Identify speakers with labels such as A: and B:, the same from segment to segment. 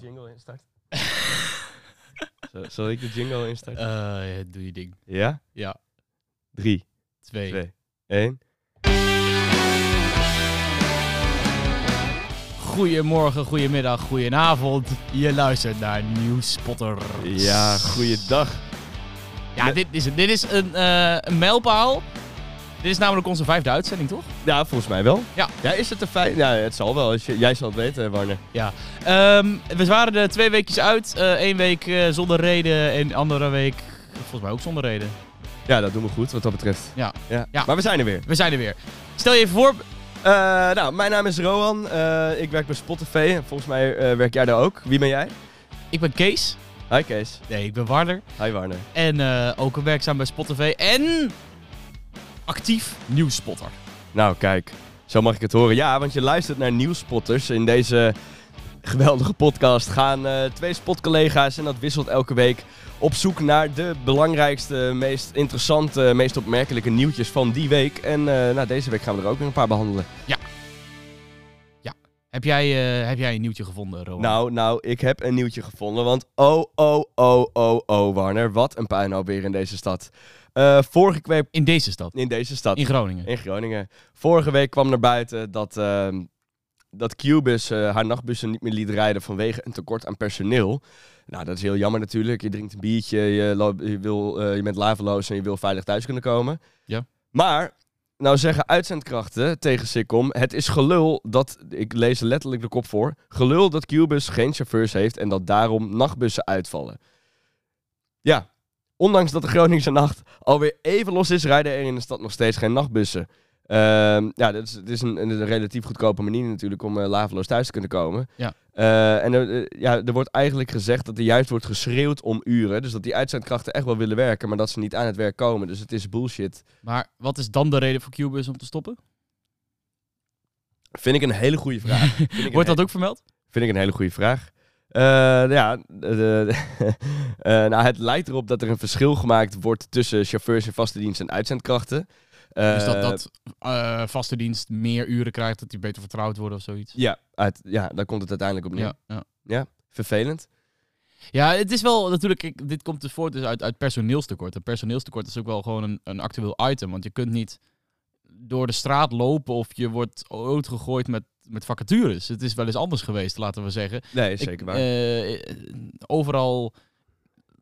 A: jingle instarten? Zal- Zal ik de jingle instarten?
B: Eh, ja, doe je ding.
A: Ja?
B: Ja,
A: 3,
B: twee.
A: 2, 1.
B: Goedemorgen, goedemiddag, goedenavond. Je luistert naar Nieuwspotter.
A: Ja, goeiedag.
B: Ja, dit is, het. dit is een, eh, een mijlpaal. Dit is namelijk onze vijfde uitzending, toch?
A: Ja, volgens mij wel.
B: Ja.
A: Ja, is het een feit? Nou, het zal wel. Als je- Jij zal het weten, Warner.
B: Ja. Ehm, we waren er twee weekjes uit. Eén week eh, zonder reden en andere week volgens mij ook zonder reden.
A: Ja, dat doen we goed wat dat betreft.
B: Ja.
A: ja.
B: Ja.
A: Maar we zijn er weer.
B: We zijn er weer. Stel je even voor...
A: Eh, nou, mijn naam is Rohan. Eh, ik werk bij Spotify. Volgens mij eh, werk jij daar ook. Wie ben jij?
B: Ik ben Kees.
A: Hi Kees.
B: Nee, ik ben Warder.
A: Hi Warner.
B: En eh, ook werkzaam bij Spotify. En actief nieuwspotter.
A: Nou, kijk. Zo mag ik het horen. Ja, want je luistert naar Nieuwspotters. In deze geweldige podcast gaan eh, twee spotcollega's, en dat wisselt elke week, op zoek naar de belangrijkste, meest interessante, meest opmerkelijke nieuwtjes van die week. En eh, nou, deze week gaan we er ook weer een paar behandelen.
B: Heb jij, eh, heb jij een nieuwtje gevonden, Roman?
A: Nou, nou, ik heb een nieuwtje gevonden, want oh, oh, oh, oh, oh, Warner, wat een puinhoop weer in deze stad. Eh, vorige week...
B: In deze stad.
A: In deze stad.
B: In Groningen.
A: In Groningen. Vorige week kwam naar buiten dat, ehm dat Qbus eh, haar nachtbussen niet meer liet rijden vanwege een tekort aan personeel. Nou, dat is heel jammer natuurlijk. Je drinkt een biertje, je, loopt- je, wil, eh, je bent laveloos en je wil veilig thuis kunnen komen.
B: Ja.
A: Maar, nou zeggen uitzendkrachten tegen Sikkom, het is gelul dat, ik lees er letterlijk de kop voor, gelul dat Qbus geen chauffeurs heeft en dat daarom nachtbussen uitvallen. Ja, ondanks dat de Groningse nacht alweer even los is, rijden er in de stad nog steeds geen nachtbussen. Ehm, ja, dat is, het is een, een relatief goedkope manier natuurlijk om eh, laveloos thuis te kunnen komen.
B: Ja.
A: Eh, en er, eh, ja, er wordt eigenlijk gezegd dat er juist wordt geschreeuwd om uren. Dus dat die uitzendkrachten echt wel willen werken, maar dat ze niet aan het werk komen. Dus het is bullshit.
B: Maar wat is dan de reden voor Cubus om te stoppen?
A: Vind ik een hele goede vraag. Vind ik een
B: Wordt dat ook vermeld?
A: Vind ik een hele goede vraag. Eh, ja, de- de- eh, nou, het lijkt erop dat er een verschil gemaakt wordt tussen chauffeurs in vaste dienst en uitzendkrachten.
B: dus dat,
A: Eh,
B: dat eh, vaste dienst meer uren krijgt, dat die beter vertrouwd worden of zoiets?
A: Ja, uit, ja, daar komt het uiteindelijk op neer.
B: Ja, ja.
A: Vervelend.
B: ja, het is wel natuurlijk, ik- dit komt dus voort dus uit, uit personeelstekort. En personeelstekort is ook wel gewoon een, een actueel item, want je kunt niet door de straat lopen of je wordt ooit gegooid met, met vacatures. Het is wel eens anders geweest, laten we zeggen.
A: Nee,
B: Ik,
A: zeker waar.
B: eh, eh, overal.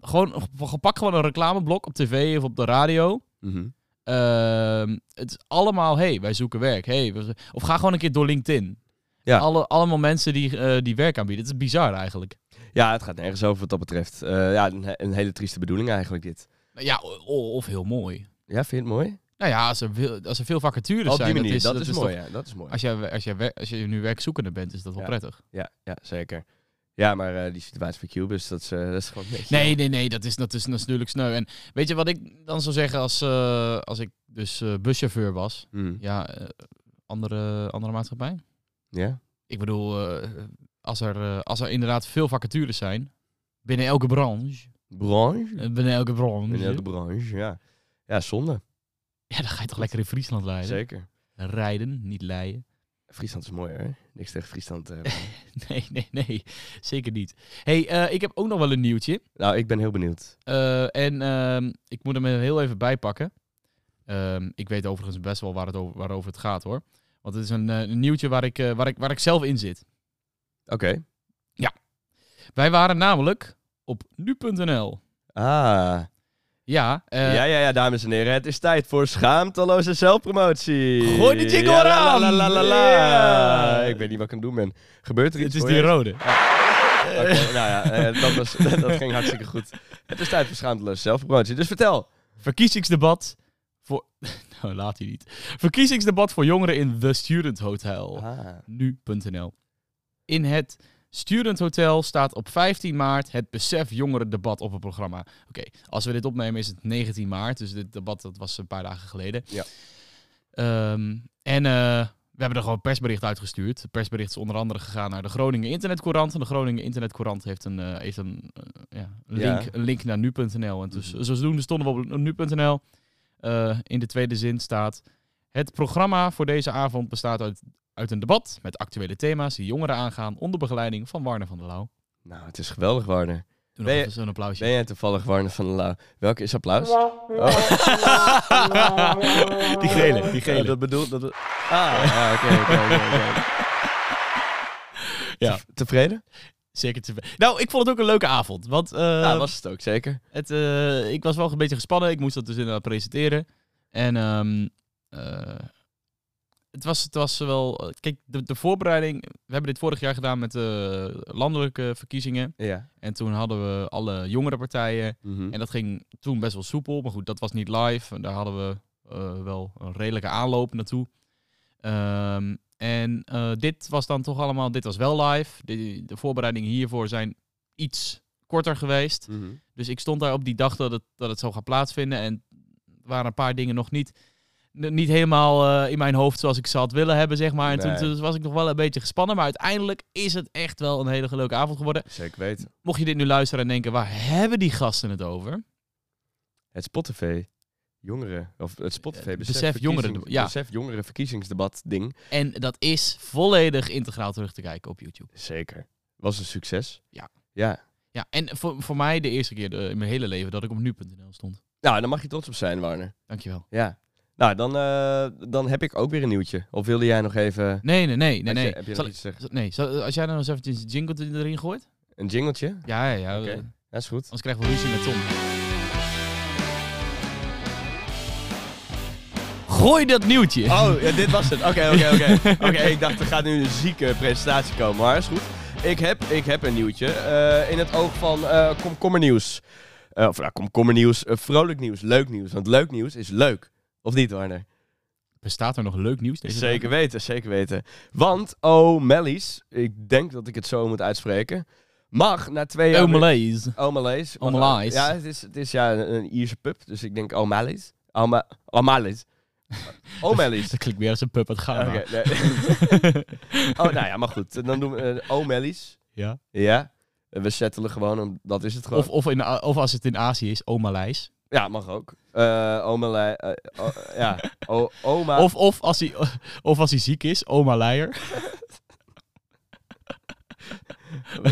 B: Gewoon, gepak gewoon een reclameblok op tv of op de radio.
A: Mhm.
B: Ehm, het is allemaal, hé, hey, wij zoeken werk. Hey, we- of ga gewoon een keer door LinkedIn.
A: Ja.
B: Alle, allemaal mensen die, eh, die werk aanbieden. Het is bizar eigenlijk.
A: Ja, het gaat nergens over wat dat betreft. Eh, ja, een, he- een hele trieste bedoeling eigenlijk dit.
B: Nou Ja, o- o- of heel mooi.
A: Ja, vind je het mooi?
B: Nou ja, als er, veel- als er veel vacatures
A: Op
B: zijn,
A: die manier, dat is,
B: toch-
A: mooi. Ja, dat is mooi.
B: als, jij, als, jij, wer- als je nu werkzoekende bent, is dat wel
A: Ja.
B: prettig.
A: Ja, ja, zeker. Ja, maar eh, die situatie van Cubus, dat is, eh, dat is gewoon een beetje-
B: Nee, nee, nee, dat is, dat is natuurlijk sneu. En weet je wat ik dan zou zeggen als, eh, als ik dus eh, buschauffeur was?
A: Mhm.
B: ja, eh, andere, andere maatschappij.
A: Ja?
B: Ik bedoel, eh, als, er, eh, als er inderdaad veel vacatures zijn, binnen elke branche,
A: Branche?
B: eh, binnen elke branche,
A: In elke branche, ja. Ja, zonde.
B: ja, dan ga je toch lekker in Friesland rijden.
A: Zeker.
B: Rijden, niet leiden.
A: Friesland is mooi, hè? Niks tegen Friesland. eh,
B: Nee, nee, nee, zeker niet. hey, eh, ik heb ook nog wel een nieuwtje.
A: nou, ik ben heel benieuwd.
B: Eh, en ehm, ik moet hem er heel even bij pakken. Ehm, ik weet overigens best wel waar het over, waarover het gaat hoor. Want het is een, eh, een nieuwtje waar ik, eh, waar, ik, waar ik zelf in zit.
A: Oké.
B: Wij waren namelijk op nu.nl.
A: Ah.
B: Ja, eh,
A: ja, ja, ja, dames en heren. Het is tijd voor schaamteloze zelfpromotie.
B: Gooi de jingle
A: Ja, la,
B: eraan!
A: la, la, la, la.
B: Ja.
A: Ik weet niet wat ik aan het doen ben. Gebeurt er
B: het
A: iets
B: is
A: voor
B: die
A: je?
B: rode.
A: Oké, nou ja, eh, dat, was, dat, dat ging hartstikke goed. Het is tijd voor schaamteloze zelfpromotie. Dus vertel.
B: Verkiezingsdebat voor... nou, laat hij niet. Verkiezingsdebat voor jongeren in The Student Hotel.
A: Ah.
B: Nu.nl In het Student Hotel staat op 15 maart het Besef Jongerendebat op het programma. Oké, als we dit opnemen is het 19 maart. Dus dit debat dat was een paar dagen geleden.
A: Ja.
B: Ehm, en eh, we hebben er gewoon een persbericht uitgestuurd. Het persbericht is onder andere gegaan naar de Groningen Internetcourant. En de Groningen Internetcourant heeft een, eh, heeft een, eh, ja, een
A: Ja.
B: link, een link naar nu.nl. En dus,
A: Mhm.
B: zodoende stonden we op nu.nl. Eh, in de tweede zin staat... Het programma voor deze avond bestaat uit, uit een debat met actuele thema's die jongeren aangaan onder begeleiding van Warner van der Lauw.
A: Nou, het is geweldig, Warner. Ben
B: Doe nog
A: je-
B: even zo'n applausje.
A: Ben jij toevallig Warner van der Lau? Welke is applaus? Oh.
B: Die gele, die
A: Ja,
B: gele.
A: dat bedoelt... Dat... Ah, ja, oké, oké, oké, oké.
B: Ja.
A: Te- Tevreden?
B: Zeker te Nou, ik vond het ook een leuke avond. Want eh,
A: Ja, was het ook, zeker.
B: het, eh, ik was wel een beetje gespannen. Ik moest dat dus inderdaad presenteren. En ehm, eh, het, was, het was wel... eh, Kijk, de, de voorbereiding... We hebben dit vorig jaar gedaan met de landelijke verkiezingen.
A: Ja.
B: En toen hadden we alle jongere partijen.
A: Mhm.
B: En dat ging toen best wel soepel. Maar goed, dat was niet live. En Daar hadden we eh, wel een redelijke aanloop naartoe. Ehm, en eh, dit was dan toch allemaal... Dit was wel live. De, de voorbereidingen hiervoor zijn iets korter geweest.
A: Mhm.
B: Dus ik stond daar op die dag dat het, dat het zou gaan plaatsvinden. En er waren een paar dingen nog niet, n- niet helemaal eh, in mijn hoofd zoals ik ze had willen hebben, zeg maar. En toen,
A: Nee.
B: toen was ik nog wel een beetje gespannen. Maar uiteindelijk is het echt wel een hele leuke avond geworden.
A: Zeker weten.
B: Mocht je dit nu luisteren en denken, waar hebben die gasten het over?
A: Het Spotify jongeren, of het Spotify
B: Eh,
A: besef,
B: besef jongeren-
A: verkiezings-
B: ja.
A: besef jongeren verkiezingsdebat ding.
B: En dat is volledig integraal terug te kijken op YouTube.
A: Zeker. Was een succes.
B: Ja.
A: Ja.
B: Ja, en voor, voor mij de eerste keer eh, in mijn hele leven dat ik op nu.nl stond.
A: Nou, daar mag je trots op zijn, Warner.
B: Dankjewel.
A: Ja. Nou, dan, eh, dan heb ik ook weer een nieuwtje. Of wilde jij nog even...
B: Nee, nee, nee, nee.
A: Had je-
B: nee.
A: heb je nog
B: Zal
A: iets te
B: ik-
A: zeggen?
B: zal- nee, zal- als jij nou eens eventjes een jingle erin gooit?
A: Een jingletje?
B: Ja, ja, ja.
A: Oké. Dat is goed.
B: Anders krijgen we ruzie met Tom. Gooi dat nieuwtje.
A: Oh, ja, dit was het. Oké, oké, oké. Oké, ik dacht er gaat nu een zieke presentatie komen, maar is goed. Ik heb, ik heb een nieuwtje eh, in het oog van eh komkommernieuws. Eh, of nou, komkommernieuws, eh, vrolijk nieuws, leuk nieuws. Want leuk nieuws is leuk. Of niet, Warner?
B: Bestaat er nog leuk nieuws deze
A: Zeker
B: dagen?
A: weten, zeker weten. Want O'Malley's, ik denk dat ik het zo moet uitspreken, mag na twee jaar...
B: O'Malley's.
A: O'Malley's. Mag-
B: O'Malley's.
A: Ja, het is, het is ja, een, een Ierse pub, dus ik denk O'Malley's. O'Ma- O'Malley's. O'Malley's.
B: Dat klinkt weer als een puppet gaan.
A: Oké, nee. oh, nou ja, maar goed. Dan doen we eh, O'Malley's.
B: Ja.
A: Ja. We settelen gewoon, om- dat is het gewoon.
B: Of, of, in, A- of als het in Azië is, O'Malley's.
A: Ja, mag ook. Eh O'Malley... eh, o- ja. O- oma...
B: Of, of, als hij, of als hij ziek is, Oma Leier.
A: Oké.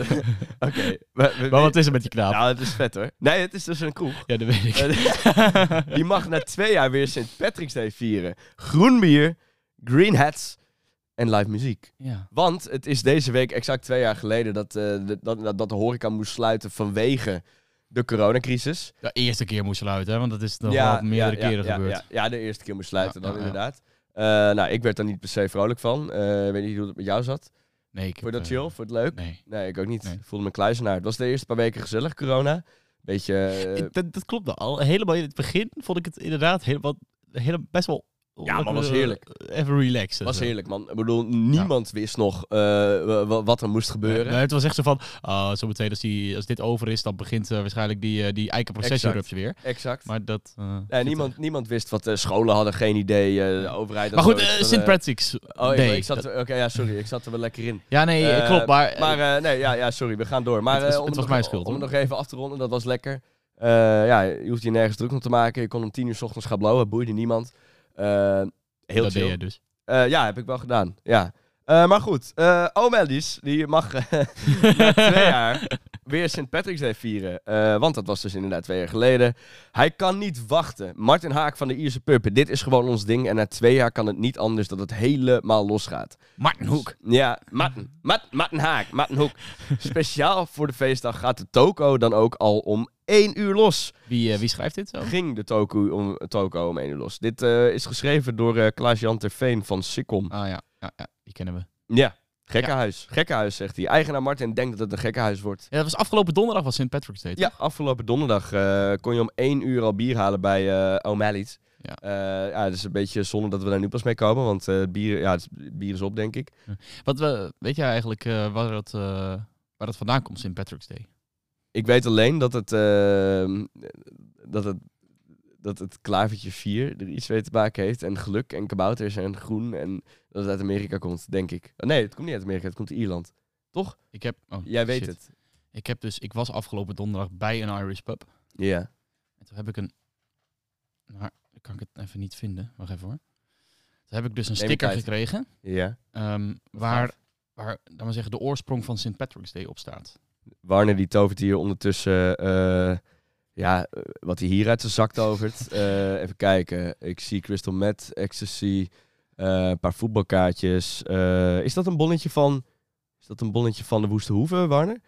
A: we- we-
B: Maar wat is er met die knaap?
A: Nou, het is vet hoor. Nee, het is dus een kroeg.
B: Ja, dat weet ik.
A: Eh, Die mag na twee jaar weer St. Patrick's Day vieren. Groen bier, green hats en live muziek.
B: ja.
A: Want het is deze week exact twee jaar geleden dat, eh, de, dat, dat- dat de horeca moest sluiten vanwege de coronacrisis.
B: De eerste keer moest sluiten, hè, want dat is nog wel meerdere
A: ja,
B: keren
A: ja,
B: gebeurd.
A: Ja, ja, de eerste keer moest sluiten
B: Ja,
A: dan
B: ja, ja.
A: inderdaad. Eh, nou, ik werd daar niet per se vrolijk van. Eh, Ik weet niet hoe het met jou zat.
B: Nee, ik
A: Vond je dat
B: heb, eh,
A: chill? Vond je het leuk?
B: Nee.
A: Nee, ik ook niet.
B: Nee.
A: Ik voelde me kluizenaar. Het was de eerste paar weken gezellig, corona. Beetje... eh,
B: dat, dat klopt al. Helemaal in het begin vond ik het inderdaad helemaal, helemaal best wel... eh,
A: Ja, maar was heerlijk.
B: Even relaxen.
A: was heerlijk, man. Ik bedoel, niemand wist nog eh, wa- wa- wat er moest gebeuren.
B: Nee, het was echt zo van, ah, zometeen als, die, als dit over is, dan begint eh, waarschijnlijk die, eh, die eikenprocessierups weer.
A: Exact.
B: Maar dat... eh,
A: Nee,
B: zit
A: niemand, niemand wist wat de scholen hadden, geen idee. eh, de overheid.
B: er. Maar goed,
A: had
B: eh,
A: zoiets van,
B: St.
A: eh,
B: Patrick's
A: Oh, ik-
B: Day.
A: ik zat,
B: Dat-
A: er- Oké, ja, sorry. Ik zat er wel lekker in.
B: ja, nee,
A: Eh,
B: klopt, maar... eh,
A: Maar eh, nee, ja, ja, sorry, we gaan door. Maar
B: Het is-
A: eh, om
B: het was
A: nog-
B: mijn schuld,
A: Om
B: hoor.
A: nog even af te ronden, dat was lekker. Eh, ja, je hoeft je nergens druk om te maken. Je kon om tien uur 's ochtends gaan blowen, boeide niemand. Eh, heel
B: dat deed
A: chill.
B: jij dus.
A: Eh, ja, heb ik wel gedaan, ja. Eh, maar goed, eh O'Malley's, die mag eh, na twee jaar weer St. Patrick's Day vieren. Eh, want dat was dus inderdaad twee jaar geleden. Hij kan niet wachten. Martin Haak van de Ierse Pub, dit is gewoon ons ding. En na twee jaar kan het niet anders dat het helemaal losgaat.
B: Martin Hoek.
A: Ja, Matten. Mat, Matten Haak, Matten Hoek. Speciaal voor de feestdag gaat de toko dan ook al om één uur los.
B: Wie, eh, wie schrijft dit zo?
A: Ging de toko om, toko om één uur los. Dit eh, is geschreven door eh Klaas-Jan Terveen van Sikkom.
B: Ah ja, ja, ja die kennen we.
A: Ja, gekkenhuis. Gekkenhuis, zegt hij. Eigenaar Martin denkt dat het een gekkenhuis wordt.
B: Ja, dat was afgelopen donderdag was St. Patrick's Day.
A: Ja, afgelopen donderdag eh, kon je om één uur al bier halen bij eh O'Malley's.
B: Ja.
A: Eh, ja, het is een beetje zonde dat we daar nu pas mee komen, want eh, het bier, ja, het bier is op, denk ik.
B: Wat, we, weet jij eigenlijk eh, waar, dat, eh, waar dat vandaan komt, St. Patrick's Day?
A: Ik weet alleen dat het, eh, dat het, dat het klavertje 4 er iets mee te maken heeft. En geluk en kabouters en groen. En dat het uit Amerika komt, denk ik. Oh, Nee, het komt niet uit Amerika, het komt uit Ierland.
B: Ik heb, oh,
A: Jij weet
B: shit.
A: het.
B: Ik, heb dus, ik was afgelopen donderdag bij een Irish pub.
A: Ja.
B: En toen heb ik een... Maar dan kan ik het even niet vinden. Wacht even hoor. Toen heb ik dus een
A: je
B: sticker
A: tijd.
B: gekregen.
A: Ja.
B: ehm, waar,
A: Gaaf.
B: waar laten we zeggen, de oorsprong van St. Patrick's Day op staat.
A: Warner die tovert hier ondertussen... eh, ja, eh, wat hij hier uit zijn zak tovert. Eh, even kijken. Ik zie Crystal Meth, Ecstasy, eh, een paar voetbalkaartjes. Eh, is dat een bonnetje van... Is dat een bonnetje van de Woeste Hoeve, Warner?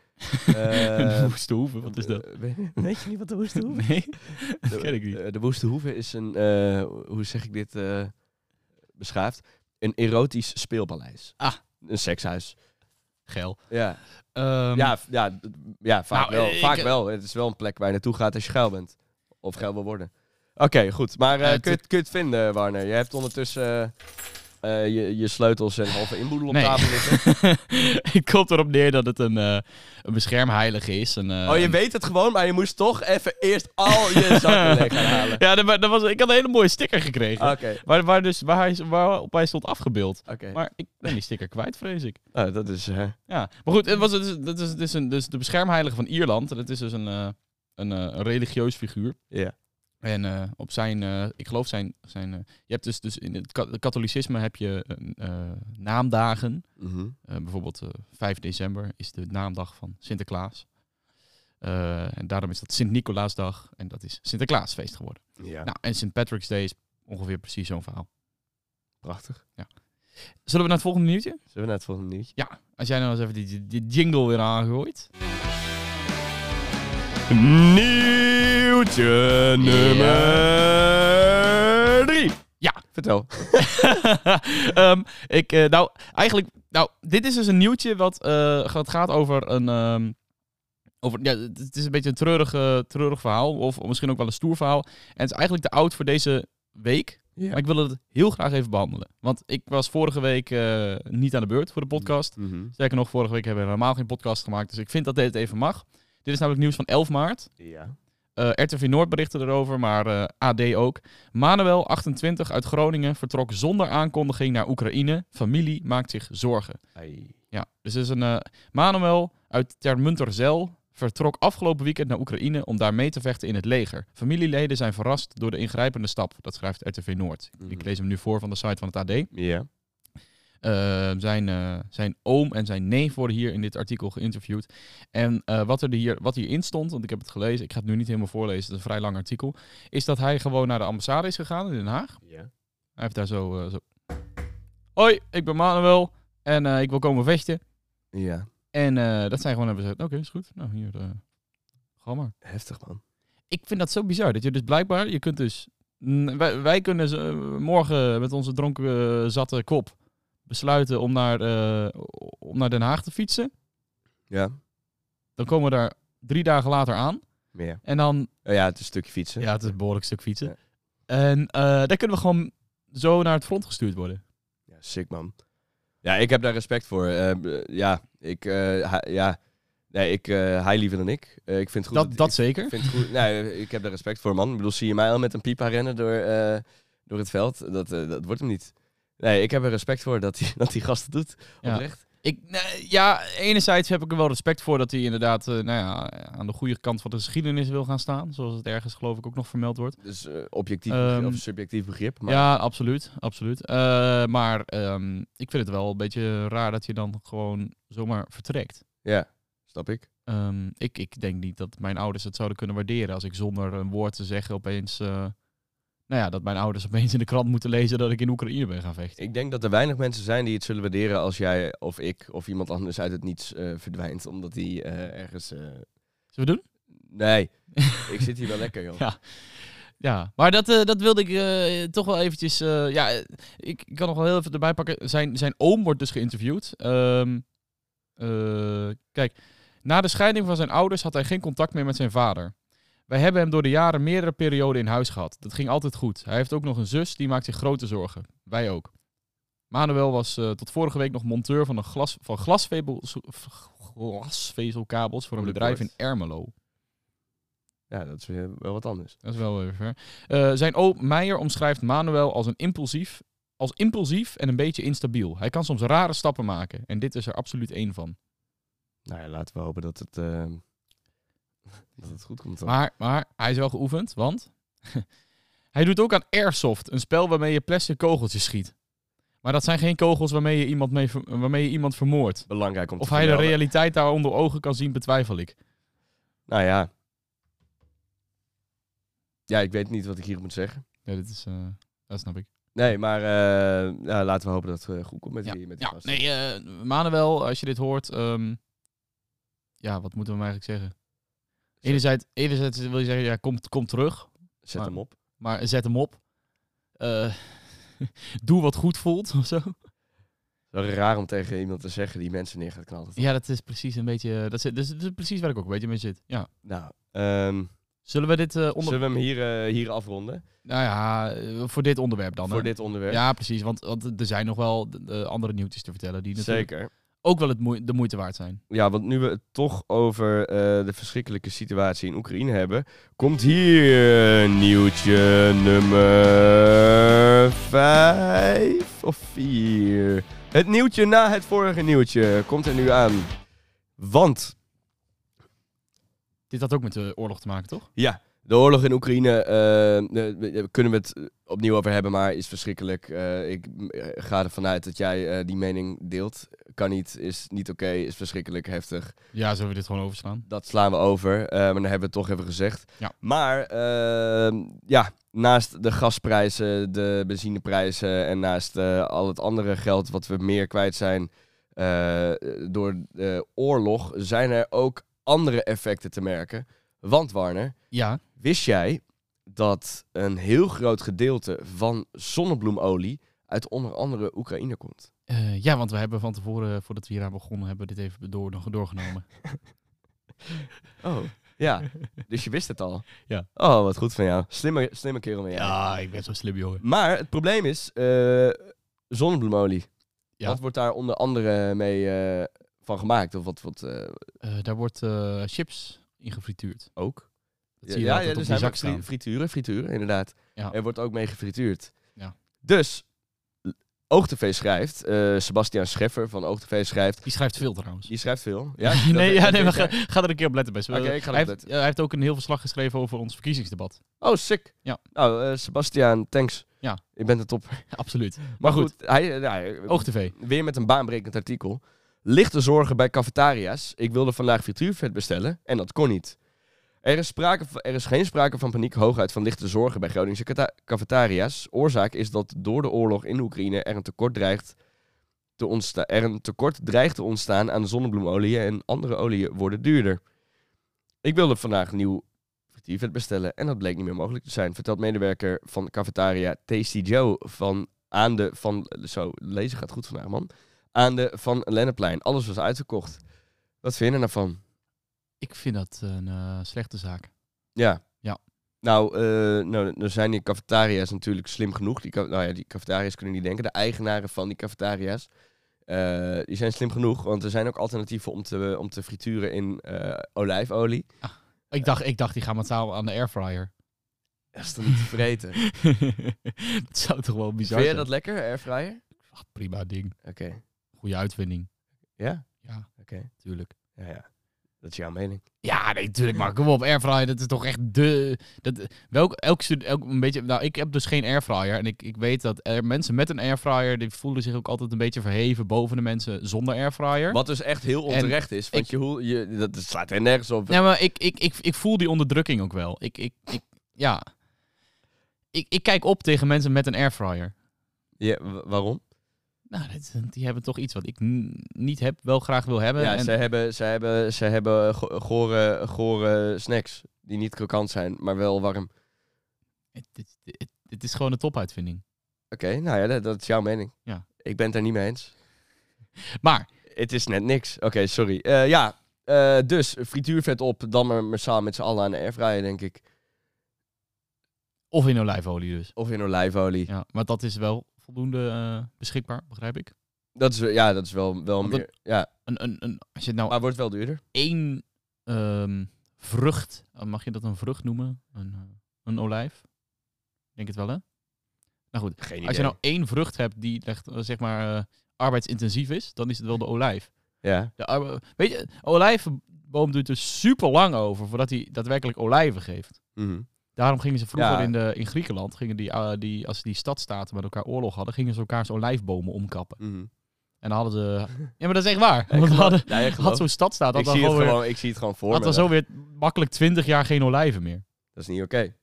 A: Eh,
B: Een woeste hoeve, wat is dat?
A: eh, we- Weet je niet wat de Woeste Hoeve
B: Nee, dat ken ik niet.
A: eh, De Woeste Hoeve is een, eh, hoe zeg ik dit eh, beschaafd? Een erotisch speelpaleis.
B: Ah.
A: Een sekshuis.
B: Geil.
A: Ja,
B: Ehm,
A: ja, v- ja, d- ja vaak,
B: Nou,
A: wel,
B: ik-
A: vaak wel. Het is wel een plek waar je naartoe gaat als je geil bent. Of geil wil worden. Oké, goed. Maar eh,
B: Eh,
A: kun, je het, kun je het vinden, Warner? Je hebt ondertussen eh, eh, je, je sleutels en halve inboedel op
B: Nee.
A: tafel liggen.
B: ik kom erop neer dat het een, eh, een beschermheilige is. Een, eh,
A: Oh, je
B: een-
A: weet het gewoon, maar je moest toch even eerst al je zakken leeg gaan halen.
B: Ja, dat, wa- dat was, ik had een hele mooie sticker gekregen.
A: Oké,
B: Waar, waar, dus, waar, hij, waarop hij stond afgebeeld.
A: oké.
B: Maar ik ben die sticker kwijt, vrees ik.
A: Nou, dat is... eh,
B: Ja, maar goed, het was, het is, het is, het is een, dus de beschermheilige van Ierland. En het is dus een, eh, een, eh, een religieus figuur.
A: Ja.
B: En eh, op zijn, eh, ik geloof zijn, zijn eh, je hebt dus, dus in het ka- katholicisme heb je eh, eh, naamdagen.
A: mhm.
B: Eh, bijvoorbeeld eh, 5 december is de naamdag van Sinterklaas. Eh, en daarom is dat Sint-Nicolaasdag en dat is Sinterklaasfeest geworden.
A: Ja,
B: Nou, en St. Patrick's Day is ongeveer precies zo'n verhaal.
A: prachtig.
B: Zullen we naar het volgende nieuwtje?
A: Zullen we naar het volgende nieuwtje?
B: Ja, als jij nou eens even die, die- die jingle weer aangooit.
A: Nieuwtje nummer 3.
B: Ja.
A: Vertel.
B: Ehm, ik, eh, nou, eigenlijk, nou, dit is dus een nieuwtje wat, eh, wat gaat over een, ehm, over, ja, het het is een beetje een treurig, eh, treurig verhaal, of misschien ook wel een stoer verhaal. En het is eigenlijk de oud voor deze week. Maar ik wil het heel graag even behandelen. Want ik was vorige week eh, niet aan de beurt voor de podcast.
A: Mhm.
B: Sterker nog, vorige week hebben we helemaal geen podcast gemaakt. Dus ik vind dat dit even mag. Dit is namelijk nieuws van 11 maart.
A: Ja.
B: Eh, RTV Noord berichtte erover, maar eh, AD ook. Manuel, 28, uit Groningen, vertrok zonder aankondiging naar Oekraïne. Familie maakt zich zorgen. Ja, dus er is een eh, Manuel uit Termunterzel vertrok afgelopen weekend naar Oekraïne om daar mee te vechten in het leger. Familieleden zijn verrast door de ingrijpende stap, dat schrijft RTV Noord. Ik
A: Mhm.
B: lees hem nu voor van de site van het AD.
A: Ja.
B: Eh, zijn, eh, zijn oom en zijn neef worden hier in dit artikel geïnterviewd. En eh, wat, er hier, wat hierin stond, want ik heb het gelezen, ik ga het nu niet helemaal voorlezen, het is een vrij lang artikel, is dat hij gewoon naar de ambassade is gegaan in Den Haag.
A: Ja.
B: Hij heeft daar zo... eh, zo... Hoi, ik ben Manuel en eh, ik wil komen vechten.
A: Ja.
B: En eh, dat zijn gewoon hebben gezegd, oké, is goed. Nou, hier, eh ga maar.
A: Heftig, man.
B: Ik vind dat zo bizar, dat je dus blijkbaar, je kunt dus... n- wij, wij kunnen z- eh, morgen met onze dronken eh, zatte kop besluiten om naar, eh, om naar Den Haag te fietsen.
A: Ja.
B: Dan komen we daar drie dagen later aan.
A: Meer.
B: En dan...
A: Oh ja, het is een stukje fietsen.
B: Ja, het is een behoorlijk stuk fietsen.
A: Ja.
B: En eh daar kunnen we gewoon zo naar het front gestuurd worden.
A: Ja, sick, man. Ja, ik heb daar respect voor. Eh, b- ja, ik... eh, hij- ja. Nee, ik, eh, hij liever dan ik. Eh, ik vind het goed
B: dat dat zeker.
A: Ik vind het goed. Nee, ik heb daar respect voor, man. Ik bedoel, zie je mij al met een pipa rennen door, eh, door het veld? Dat, eh, dat wordt hem niet. Nee, ik heb er respect voor dat hij dat die gast het doet.
B: Ja.
A: Oprecht.
B: Ik, nee, ja, enerzijds heb ik er wel respect voor dat hij inderdaad eh, nou ja, aan de goede kant van de geschiedenis wil gaan staan. Zoals het ergens geloof ik ook nog vermeld wordt.
A: Dus eh, objectief
B: Ehm,
A: begrip- of subjectief begrip. Maar
B: Ja, absoluut. absoluut. Eh, maar ehm, ik vind het wel een beetje raar dat je dan gewoon zomaar vertrekt.
A: ja, snap ik.
B: Ehm, ik, ik denk niet dat mijn ouders het zouden kunnen waarderen als ik zonder een woord te zeggen opeens... eh, nou ja, dat mijn ouders opeens in de krant moeten lezen dat ik in Oekraïne ben gaan vechten.
A: Ik denk dat er weinig mensen zijn die het zullen waarderen als jij of ik of iemand anders uit het niets eh, verdwijnt. Omdat die eh, ergens... eh,
B: Zullen we doen?
A: Nee, ik zit hier wel lekker, joh.
B: Ja. Ja, maar dat, eh, dat wilde ik eh, toch wel eventjes... eh, ja, eh, ik, ik kan nog wel heel even erbij pakken. Zijn, zijn oom wordt dus geïnterviewd. Ehm, eh, kijk, na de scheiding van zijn ouders had hij geen contact meer met zijn vader. Wij hebben hem door de jaren meerdere perioden in huis gehad. Dat ging altijd goed. Hij heeft ook nog een zus, die maakt zich grote zorgen. Wij ook. Manuel was eh, tot vorige week nog monteur van, een glas, van glasvezels- glasvezelkabels voor een
A: Moeilijk
B: bedrijf in
A: woord.
B: Ermelo.
A: Ja, dat is weer wel wat anders.
B: Dat is wel weer ver. Eh, zijn oom Meijer omschrijft Manuel als een impulsief, als impulsief en een beetje instabiel. Hij kan soms rare stappen maken en dit is er absoluut één van.
A: Nou ja, laten we hopen dat het, eh, dat het goed komt. Dan.
B: Maar, maar hij is wel geoefend, want hij doet ook aan airsoft, een spel waarmee je plastic kogeltjes schiet. Maar dat zijn geen kogels waarmee je iemand, mee, ver- waarmee je iemand vermoordt.
A: Belangrijk om
B: Of
A: te
B: hij de
A: vermelden.
B: realiteit daar onder ogen kan zien, betwijfel ik.
A: Nou ja. Ja, ik weet niet wat ik hier moet zeggen.
B: Ja, dit is, eh, dat snap ik.
A: Nee, maar eh, nou, laten we hopen dat het eh, goed komt met
B: Ja,
A: die, met die
B: ja
A: gast.
B: nee, eh, Manuel, als je dit hoort... ehm, ja, wat moeten we hem eigenlijk zeggen? Enerzijds, Ah. enerzijds wil je zeggen, ja, kom, kom terug.
A: Zet
B: maar-
A: hem op.
B: Maar zet hem op. Eh, doe wat goed voelt of zo.
A: Wel raar om tegen iemand te zeggen die mensen neer gaat knallen.
B: Ja, dat is precies een beetje... Dat is, dat is, dat is precies waar ik ook een beetje mee zit. Ja.
A: Nou, ehm,
B: Zullen we dit eh, onder...
A: zullen we hem hier, eh, hier afronden?
B: Nou ja, eh, voor dit onderwerp dan. hè?
A: voor dit onderwerp?
B: Ja, precies. Want, want er zijn nog wel eh, andere nieuwtjes te vertellen die natuurlijk
A: Zeker.
B: ook wel het moe- de moeite waard zijn.
A: Ja, want nu we het toch over eh, de verschrikkelijke situatie in Oekraïne hebben, komt hier nieuwtje nummer 5 of 4. Het nieuwtje na het vorige nieuwtje komt er nu aan. Want
B: Dit had ook met de oorlog te maken, toch?
A: Ja, de oorlog in Oekraïne eh, eh, we- kunnen we het eh, opnieuw over hebben, maar is verschrikkelijk. Eh, ik m- eh, ga ervan uit dat jij eh, die mening deelt. Kan niet, is niet oké, is verschrikkelijk heftig.
B: Ja, zullen we dit gewoon overslaan?
A: Dat slaan we over, eh, maar dan hebben we het toch even gezegd.
B: Ja.
A: Maar eh, ja, naast de gasprijzen, de benzineprijzen en naast eh, al het andere geld wat we meer kwijt zijn eh, door de oorlog, zijn er ook andere effecten te merken. Want Warner,
B: Ja.
A: Wist jij dat een heel groot gedeelte van zonnebloemolie uit onder andere Oekraïne komt?
B: Eh, ja, want we hebben van tevoren, eh, voordat we hier aan begonnen, hebben we dit even door, doorgenomen.
A: Oh. Ja, dus je wist het al.
B: Ja.
A: Oh, wat goed van jou. Slimme, slimme kerel ben jij.
B: ik ben zo slim, jongen.
A: Maar het probleem is eh, zonnebloemolie.
B: Ja.
A: Wat wordt daar onder andere mee eh, van gemaakt? Of wat, wat eh,
B: Eh, daar wordt eh, chips in gefrituurd.
A: ook?
B: Dat zie je altijd op die
A: zijn
B: zak
A: ook dus fri-
B: staan.
A: frituren, frituren, inderdaad.
B: Ja.
A: Er wordt ook mee gefrituurd.
B: Ja.
A: Dus, l- OogTV schrijft, eh, Sebastian Scheffer van OogTV schrijft...
B: Die schrijft veel trouwens.
A: Je schrijft veel. Ja,
B: nee,
A: Dat-
B: ja,
A: dat
B: nee, maar
A: weet
B: ga,
A: jij.
B: ga er een keer op letten, best.
A: Oké, ik ga
B: hij,
A: erop
B: heeft,
A: letten.
B: eh, hij heeft ook een heel verslag geschreven over ons verkiezingsdebat.
A: Oh, sick.
B: Ja.
A: Nou, eh, Sebastiaan, thanks.
B: Ja.
A: Je bent een topper.
B: Absoluut.
A: Maar
B: goed.
A: goed, hij, eh, nou, eh,
B: OogTV.
A: weer met een baanbrekend artikel. Lichte zorgen bij cafetaria's. Ik wilde vandaag frituurvet bestellen en dat kon niet. Er is, sprake van- er is geen sprake van paniek hooguit van lichte zorgen bij Groningse cata- cafetaria's. Oorzaak is dat door de oorlog in Oekraïne er een tekort dreigt te, ontstaan, er een tekort dreigt te ontstaan aan zonnebloemolie en andere oliën worden duurder. Ik wilde vandaag nieuw frituurvet bestellen en dat bleek niet meer mogelijk te zijn, vertelt medewerker van cafetaria Tasty Joe van aan de van zo lezen gaat goed vandaag man aan de van Lenneplein. Alles was uitverkocht. Wat vind je er nou van?
B: Ik vind dat een eh, slechte zaak.
A: Ja.
B: Ja.
A: Nou, eh nou, nou zijn die cafetaria's natuurlijk slim genoeg. Die, ca- nou ja, die cafetaria's kunnen niet denken. De eigenaren van die cafetaria's. eh, die zijn slim genoeg, want er zijn ook alternatieven om te, om te frituren in eh, olijfolie.
B: Ik dacht, ik dacht die gaan massaal aan de airfryer.
A: Dat is dan niet te vreten.
B: dat zou toch wel bizar
A: vind je
B: zijn?
A: dat lekker, airfryer?
B: Ach, prima ding.
A: Oké.
B: Goede uitvinding.
A: Ja?
B: Ja,
A: Oké.
B: tuurlijk.
A: Ja, ja. Dat is jouw mening.
B: Ja, nee, tuurlijk. Maar kom op, airfryer, dat is toch echt de... Dat, welk, elk, stu- elk, een beetje, nou, ik heb dus geen airfryer. En ik, ik weet dat er, mensen met een airfryer, die voelen zich ook altijd een beetje verheven boven de mensen zonder airfryer.
A: Wat dus echt heel onterecht is, want
B: ik-
A: je, hoe, je, dat slaat er nergens op.
B: Ja, maar ik, ik, ik, ik voel die onderdrukking ook wel. Ik, ik, ik, ja. Ik, ik kijk op tegen mensen met een airfryer.
A: Ja, wa- waarom?
B: Nou, dat, die hebben toch iets wat ik n- niet heb, wel graag wil hebben.
A: Ja,
B: en,
A: ze hebben, ze hebben, ze hebben go- gore, gore snacks die niet krokant zijn, maar wel warm.
B: het, het, het- het is gewoon een topuitvinding.
A: Oké, nou ja, dat, dat is jouw mening.
B: Ja.
A: Ik ben het er niet mee eens.
B: Maar,
A: Het is net niks. Oké, sorry. Eh, ja, eh, dus frituurvet op, dan maar massaal met z'n allen aan de airfryer, denk ik.
B: of in olijfolie dus.
A: Of in olijfolie.
B: Ja, maar dat is wel voldoende eh, beschikbaar, begrijp ik.
A: Dat is, ja, dat is wel, wel
B: Want
A: meer. Ja,
B: Een, een, een, als je nou
A: maar wordt wel duurder.
B: één ehm, vrucht, eh, mag je dat een vrucht noemen? Een, eh, een olijf? Ik Denk het wel, hè? Nou goed,
A: Geen
B: als je nou één vrucht hebt die echt, eh, zeg maar eh, arbeidsintensief is, dan is het wel de olijf.
A: Ja,
B: De arbe- Weet je, een olijfboom doet er super lang over voordat hij daadwerkelijk olijven geeft.
A: mhm.
B: Daarom gingen ze vroeger
A: Ja.
B: in, de, in Griekenland, gingen die, eh, die, als die stadstaten met elkaar oorlog hadden, gingen ze elkaars olijfbomen omkappen.
A: Mhm.
B: En dan hadden ze... Ja, maar dat is echt waar.
A: Ja, ik
B: Want we
A: geloof-
B: hadden,
A: ja, ik geloof-
B: had zo'n stadstaat, had
A: ik,
B: dan
A: zie het
B: gewoon weer,
A: gewoon, ik zie het gewoon voor
B: had
A: me.
B: dan zo weer makkelijk 20 jaar geen olijven meer.
A: Dat is niet oké.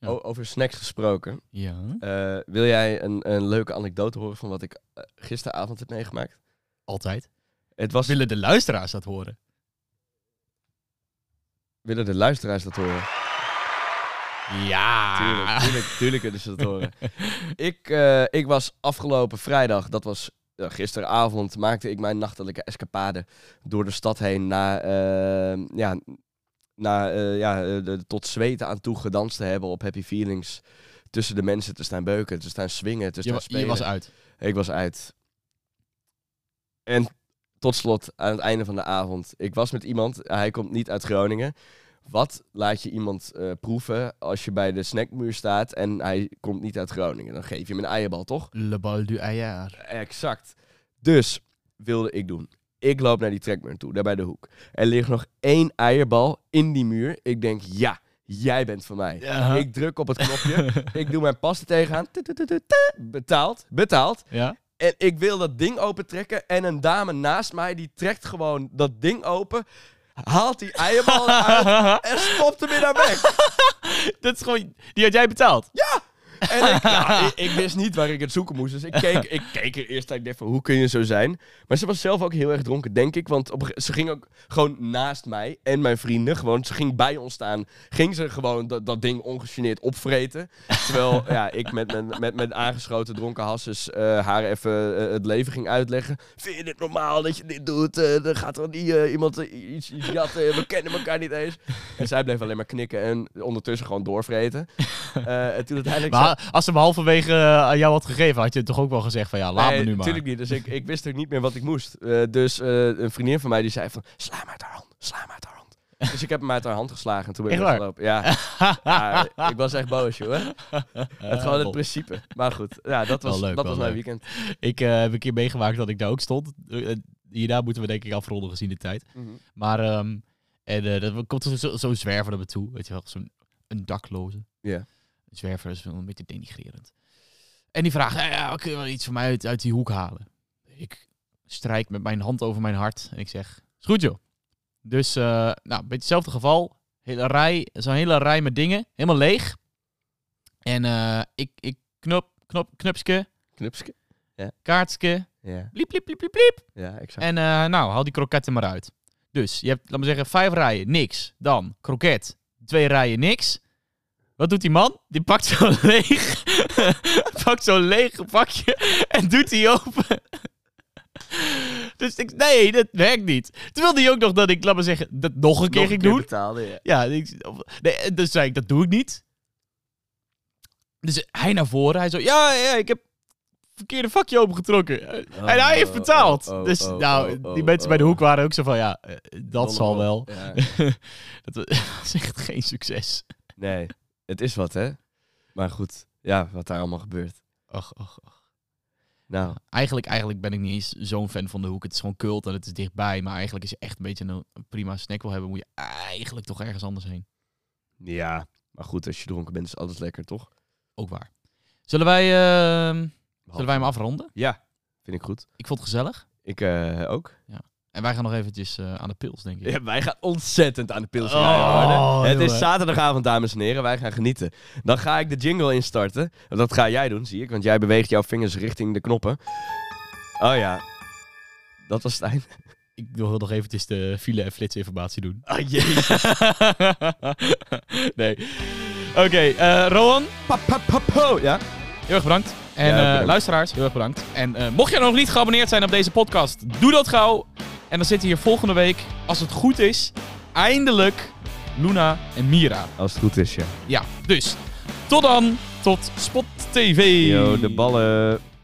B: Ja.
A: O- over snacks gesproken.
B: Ja.
A: Eh, wil jij een, een leuke anekdote horen van wat ik eh, gisteravond heb meegemaakt?
B: Altijd.
A: Het was...
B: Willen de luisteraars dat horen?
A: Willen de luisteraars dat horen?
B: Ja.
A: Tuurlijk, tuurlijk, tuurlijk kunnen ze dat horen. ik, eh, ik was afgelopen vrijdag, dat was eh, gisteravond, maakte ik mijn nachtelijke escapade door de stad heen naar, eh, ja, naar eh, ja, eh, de, tot zweten aan toe gedanst te hebben op Happy Feelings. Tussen de mensen te staan beuken, te staan swingen, te
B: Je,
A: staan
B: wa-
A: Dus spelen.
B: je was uit.
A: Ik was uit. En tot slot, aan het einde van de avond. Ik was met iemand, hij komt niet uit Groningen. Wat laat je iemand eh, proeven als je bij de snackmuur staat en hij komt niet uit Groningen? Dan geef je hem een eierbal, toch?
B: Le bal du aillard.
A: Exact. Dus wilde ik doen. Ik loop naar die trekmuur toe, daar bij de hoek. Er ligt nog één eierbal in die muur. Ik denk, ja, jij bent van mij.
B: Ja.
A: Ik druk op het knopje. ik doe mijn pas er tegenaan. Betaald, betaald.
B: Ja?
A: En ik wil dat ding opentrekken. En een dame naast mij, die trekt gewoon dat ding open. Haalt die eierbal uit en stopt hem in haar bek.
B: dat is gewoon... Die had jij betaald?
A: En ik, ja, ik, ik wist niet waar ik het zoeken moest. Dus ik keek, ik keek er eerst naar. Ik dacht van, hoe kun je zo zijn? Maar ze was zelf ook heel erg dronken, denk ik. Want op, een ge- ze ging ook gewoon naast mij en mijn vrienden. Gewoon, ze ging bij ons staan. Ging ze gewoon dat, dat ding ongegeneerd opvreten. Terwijl ja, ik met mijn, met mijn aangeschoten dronken hasses eh, haar even eh, het leven ging uitleggen. Vind je dit normaal dat je dit doet? Eh dan gaat er niet eh, iemand eh, iets, iets jatten. We kennen elkaar niet eens. En zij bleef alleen maar knikken en ondertussen gewoon doorvreten. Eh, en toen uiteindelijk... zei-
B: Maar als ze me halverwege eh, aan jou had gegeven, had je toch ook wel gezegd van ja, laat me nu maar.
A: natuurlijk niet. Dus ik, ik wist ook niet meer wat ik moest. Eh, dus eh, een vriendin van mij die zei van, sla hem uit haar hand, sla hem uit haar hand. Dus ik heb hem uit haar hand geslagen en toen ben ik
B: Echt waar?
A: weggelopen. Ja. Ja, ik was echt boos, joh. hè. Het gewoon het principe. Maar goed, ja, dat
B: Wel
A: was,
B: leuk,
A: dat
B: wel
A: was mijn
B: leuk.
A: weekend.
B: Ik eh, heb een keer meegemaakt dat ik daar ook stond. Eh, eh, Hierna moeten we denk ik afronden gezien de tijd.
A: Mhm.
B: Maar ehm, en, eh, dat komt zo'n zo zo'n zwerver naar me toe. Weet je wel, zo'n een dakloze.
A: Ja.
B: Een zwerver is wel een beetje denigrerend. En die vraagt, "Eh, ja, kun je wel iets voor mij uit, uit die hoek halen? Ik strijk met mijn hand over mijn hart en ik zeg, is goed joh. Dus, eh, nou, een beetje hetzelfde geval. Hele rij, zo'n hele rij met dingen, helemaal leeg. En eh, ik, ik knop, knop, knupske,
A: Knupske.
B: kaartske,
A: Ja,
B: bliep, bliep, bliep, bliep, bliep.
A: ja exact.
B: En eh, nou, haal die kroketten maar uit. Dus je hebt, laat maar zeggen, vijf rijen, niks. Dan kroket, twee rijen, niks. Wat doet die man? Die pakt zo'n leeg, pakt zo'n leeg pakje en doet die open. Dus ik, nee, dat werkt niet. Toen wilde hij ook nog dat ik, laat maar zeggen, dat nog een keer
A: Nog
B: ging doen.
A: betaalde, ja.
B: Ja, ik, of- nee, dus zei ik, dat doe ik niet. Dus hij naar voren, hij zo, ja, ja, ik heb verkeerde vakje opengetrokken.
A: Oh,
B: en hij heeft
A: oh,
B: betaald.
A: oh, oh,
B: dus
A: oh,
B: nou,
A: oh,
B: die
A: oh,
B: mensen bij de
A: oh.
B: hoek waren ook zo van, ja, eh, dat
A: Dolle
B: zal
A: boel.
B: wel.
A: Ja.
B: dat was echt geen succes.
A: Nee, het is wat, hè. Maar goed, ja, wat daar allemaal gebeurt.
B: Ach, ach, ach.
A: Nou,
B: Eigenlijk, eigenlijk ben ik niet eens zo'n fan van de hoek. Het is gewoon cult en het is dichtbij. Maar eigenlijk is je echt een beetje een een prima snack wil hebben, moet je eigenlijk toch ergens anders heen.
A: ja. Maar goed, als je dronken bent is alles lekker, toch?
B: Ook waar. Zullen wij, ehm, zullen wij hem afronden?
A: Ja, vind ik goed.
B: Ik vond het gezellig.
A: Ik eh, ook.
B: En wij gaan nog eventjes eh, aan de pils, denk ik.
A: Ja, wij gaan ontzettend aan de pils
B: Oh,
A: rijden, hoor. Het
B: jongen.
A: is zaterdagavond, dames en heren. Wij gaan genieten. Dan ga ik de jingle instarten. Dat ga jij doen, zie ik. Want jij beweegt jouw vingers richting de knoppen. Oh ja. Dat was het einde.
B: Ik wil nog eventjes de file- en flitsinformatie doen.
A: Oh jee.
B: nee. Oké, eh, Rowan,
A: Pa, pa, pa, po. Ja?
B: heel erg bedankt. En
A: Ja,
B: eh,
A: bedankt.
B: luisteraars, heel erg bedankt. En eh, mocht je nog niet geabonneerd zijn op deze podcast, doe dat gauw. En dan zitten hier volgende week, als het goed is, eindelijk Luna en Mira.
A: Als het goed is, ja.
B: Ja, dus tot dan. Tot Spot TV.
A: Yo, de ballen.